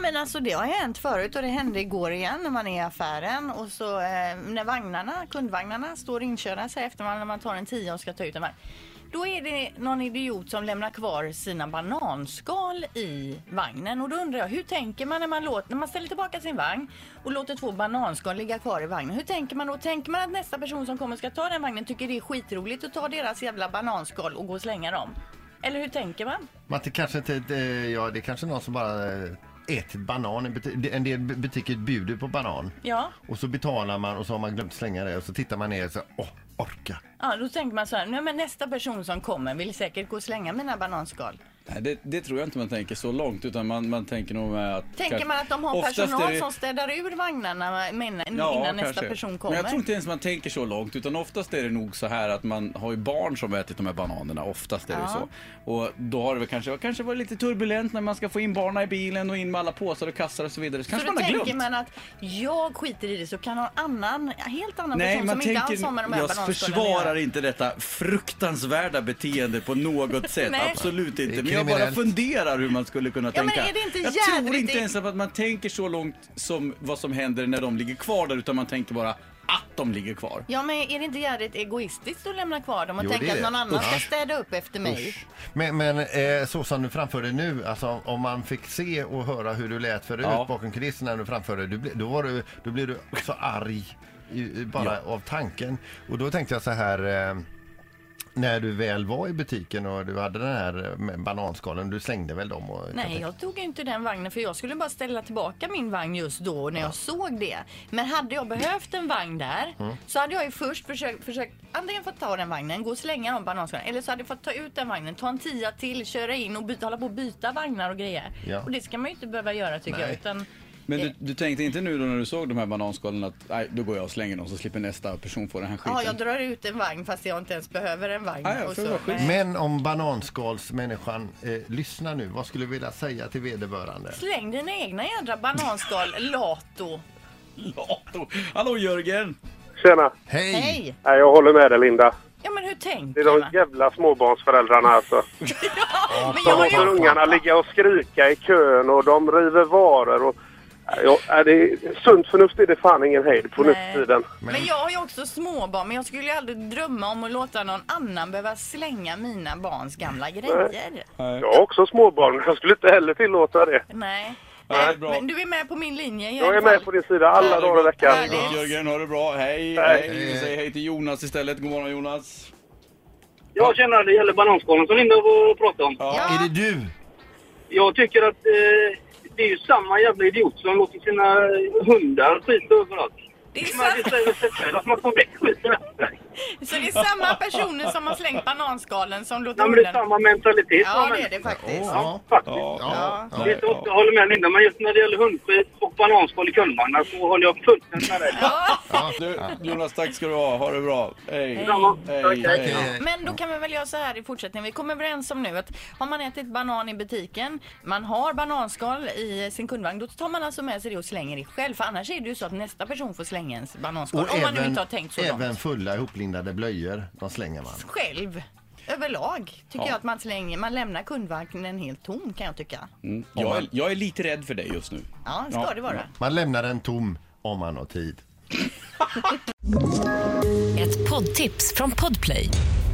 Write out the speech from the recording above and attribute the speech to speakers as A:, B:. A: men alltså det har hänt förut och det hände igår igen när man är i affären och så eh, när vagnarna, kundvagnarna står inkörda så här efter man, när man tar en tia och ska ta ut en vagn. Då är det någon idiot som lämnar kvar sina bananskal i vagnen och då undrar jag hur tänker man när man, låter, när man ställer tillbaka sin vagn och låter två bananskal ligga kvar i vagnen. Hur tänker man då? Tänker man att nästa person som kommer ska ta den vagnen tycker det är skitroligt att ta deras jävla bananskal och gå och slänga dem? Eller hur tänker man?
B: Men det kanske inte, eh, ja, det är kanske någon som bara eh, ätit banan. i buti- En del butiker bjuder på banan.
A: Ja.
B: Och så betalar man och så har man glömt slänga det och så tittar man ner och så, åh, orka.
A: Ja, då tänker man så här, nej men nästa person som kommer vill säkert gå och slänga mina bananskal.
C: Nej, det, det tror jag inte man tänker så långt utan man, man tänker nog med att...
A: Tänker
C: kanske-
A: man att de har
C: Oftast
A: personal
C: är det-
A: som städar ur vagnarna men,
C: Ja,
A: innan nästa
C: kanske.
A: person
C: Men
A: kommer?
C: jag tror inte ens man tänker så långt utan oftast är det nog så här att man har ju barn som har ätit de här bananerna. Oftast är det
A: Ja.
C: så. Och då har det väl kanske, kanske varit lite turbulent när man ska få in barnen i bilen och in med alla påsar och kassar och så vidare.
A: så
C: Så kanske
A: då
C: man har
A: tänker
C: glömt.
A: man att jag skiter i det så kan någon annan, helt annan
C: Nej,
A: person
C: man
A: som inte alls har med de
C: tänker,
A: här
C: jag
A: bananskalen
C: försvarar
A: att göra.
C: inte detta fruktansvärda beteende på något sätt.
A: Nej.
C: Absolut
B: Det
C: inte.
B: är
C: Men jag bara
B: kriminellt.
C: funderar hur man skulle kunna
A: Ja, men
C: tänka.
A: är det inte
C: jag tror
A: jädrigt-
C: inte ens att man tänker så långt som vad som händer när de ligger kvar där utan man tänker bara att de ligger kvar.
A: Ja men är det inte jävligt egoistiskt att lämna kvar dem och
B: Jo, det
A: tänka
B: är
A: att någon
B: det.
A: annan ska
B: Usch.
A: städa upp efter mig?
B: Usch. Men, men eh, så som du framförde nu, alltså om man fick se och höra hur du lät förut
C: Ja.
B: bakom kulisserna när du framförde, du, ble- då, var du, då blev du så arg i, i- bara av tanken. Och då tänkte jag så här, eh, när du väl var i butiken och du hade den här eh, med bananskalen, du slängde väl dem? Och,
A: Nej, jag tog inte den vagnen för jag skulle bara ställa tillbaka min vagn just då när jag såg det. Men hade jag behövt en vagn där så hade jag ju först försökt, försökt antingen fått ta den vagnen, gå och slänga de bananskalen eller så hade jag fått ta ut den vagnen, ta en tia till, köra in och byta, hålla på och byta vagnar och grejer.
B: Ja.
A: Och det ska man ju inte behöva göra tycker jag.
B: Nej.
A: Utan,
C: Men
A: eh,
C: du, du tänkte inte nu då när du såg de här bananskalen att nej, då går jag och slänger dem så slipper nästa person få den här skiten?
A: ja, jag drar ut en vagn fast jag inte ens behöver en vagn.
C: Ah, ja,
A: och
C: för det var skit.
A: nej.
B: Men om bananskalsmänniskan, eh, lyssna nu, vad skulle du vilja säga till vederbörande?
A: Släng dina egna jädra bananskal, lato.
C: Lato. Hallå Jörgen!
D: Tjena!
B: Hej!
A: Hej!
D: Nej, jag håller med dig Linda.
A: Ja men hur
D: Det
A: tänker
D: är de
A: va?
D: jävla småbarnsföräldrarna alltså.
A: Men
D: De
A: jag har
D: låter
A: ju
D: ungarna ligga och skrika i kön och de river varor och... Nej, jag- nej, det är, sunt förnuft är det fan ingen hejd på nu
A: Nej.
D: för tiden.
A: Men... jag har ju också småbarn men jag skulle ju aldrig drömma om att låta någon annan behöva slänga mina barns gamla grejer.
D: Jag har också småbarn, jag skulle inte heller tillåta det.
A: Nej.
C: Nej, det är bra.
A: Men du är med på min linje i
D: Jag
A: alla
D: är
A: fall.
D: med på din sida alla dagar i veckan.
C: Ha det gott, Jörgen, ha det bra. Hej,
D: Hej.
C: hej. Vi säger hej till Jonas istället. God morgon Jonas.
E: Jag känner att det gäller bananskalen som Linda var och pratade om.
B: Är det du?
E: Jag tycker att eh, det är ju samma jävla idiot som låter sina hundar skita överallt.
A: Det är
E: Men det säger sig själv att man får väck skiten
A: Så det är samma personer som har slängt bananskalen som låter
E: Ja, men det är
A: hunden-
E: samma mentalitet.
A: Ja det är det faktiskt.
B: Ja.
E: Faktiskt.
B: Ja.
E: Det är inte ofta jag håller med Linda, men just när det gäller hundskit och bananskal i kundvagnar så håller jag fullständigt med dig.
A: Ja.
C: Du, Jonas, tack ska du ha. Ha det bra. Hej.
E: Detsamma.
C: Hej,
E: Tack,
C: hej.
B: Eh,
A: Men då kan vi väl göra så här i fortsättningen. Vi kommer överens om nu att har man ätit banan i butiken, man har bananskal i sin kundvagn, då tar man alltså med sig det och slänger det själv. För annars är det ju så att nästa person får slänga ens bananskal.
B: Och
A: om man nu
B: även,
A: inte har tänkt så långt.
B: även fulla ihoplindade blöjor, de slänger man.
A: själv. Överlag tycker
C: Ja.
A: jag att man slänger, man lämnar kundvagnen helt tom kan jag tycka.
C: Mm, Jag är, jag är lite rädd för dig just nu.
A: Ja,
B: Mm.
A: ska
C: Ja.
A: det vara.
B: Man lämnar den tom om man har tid.
F: Ett poddtips från Podplay.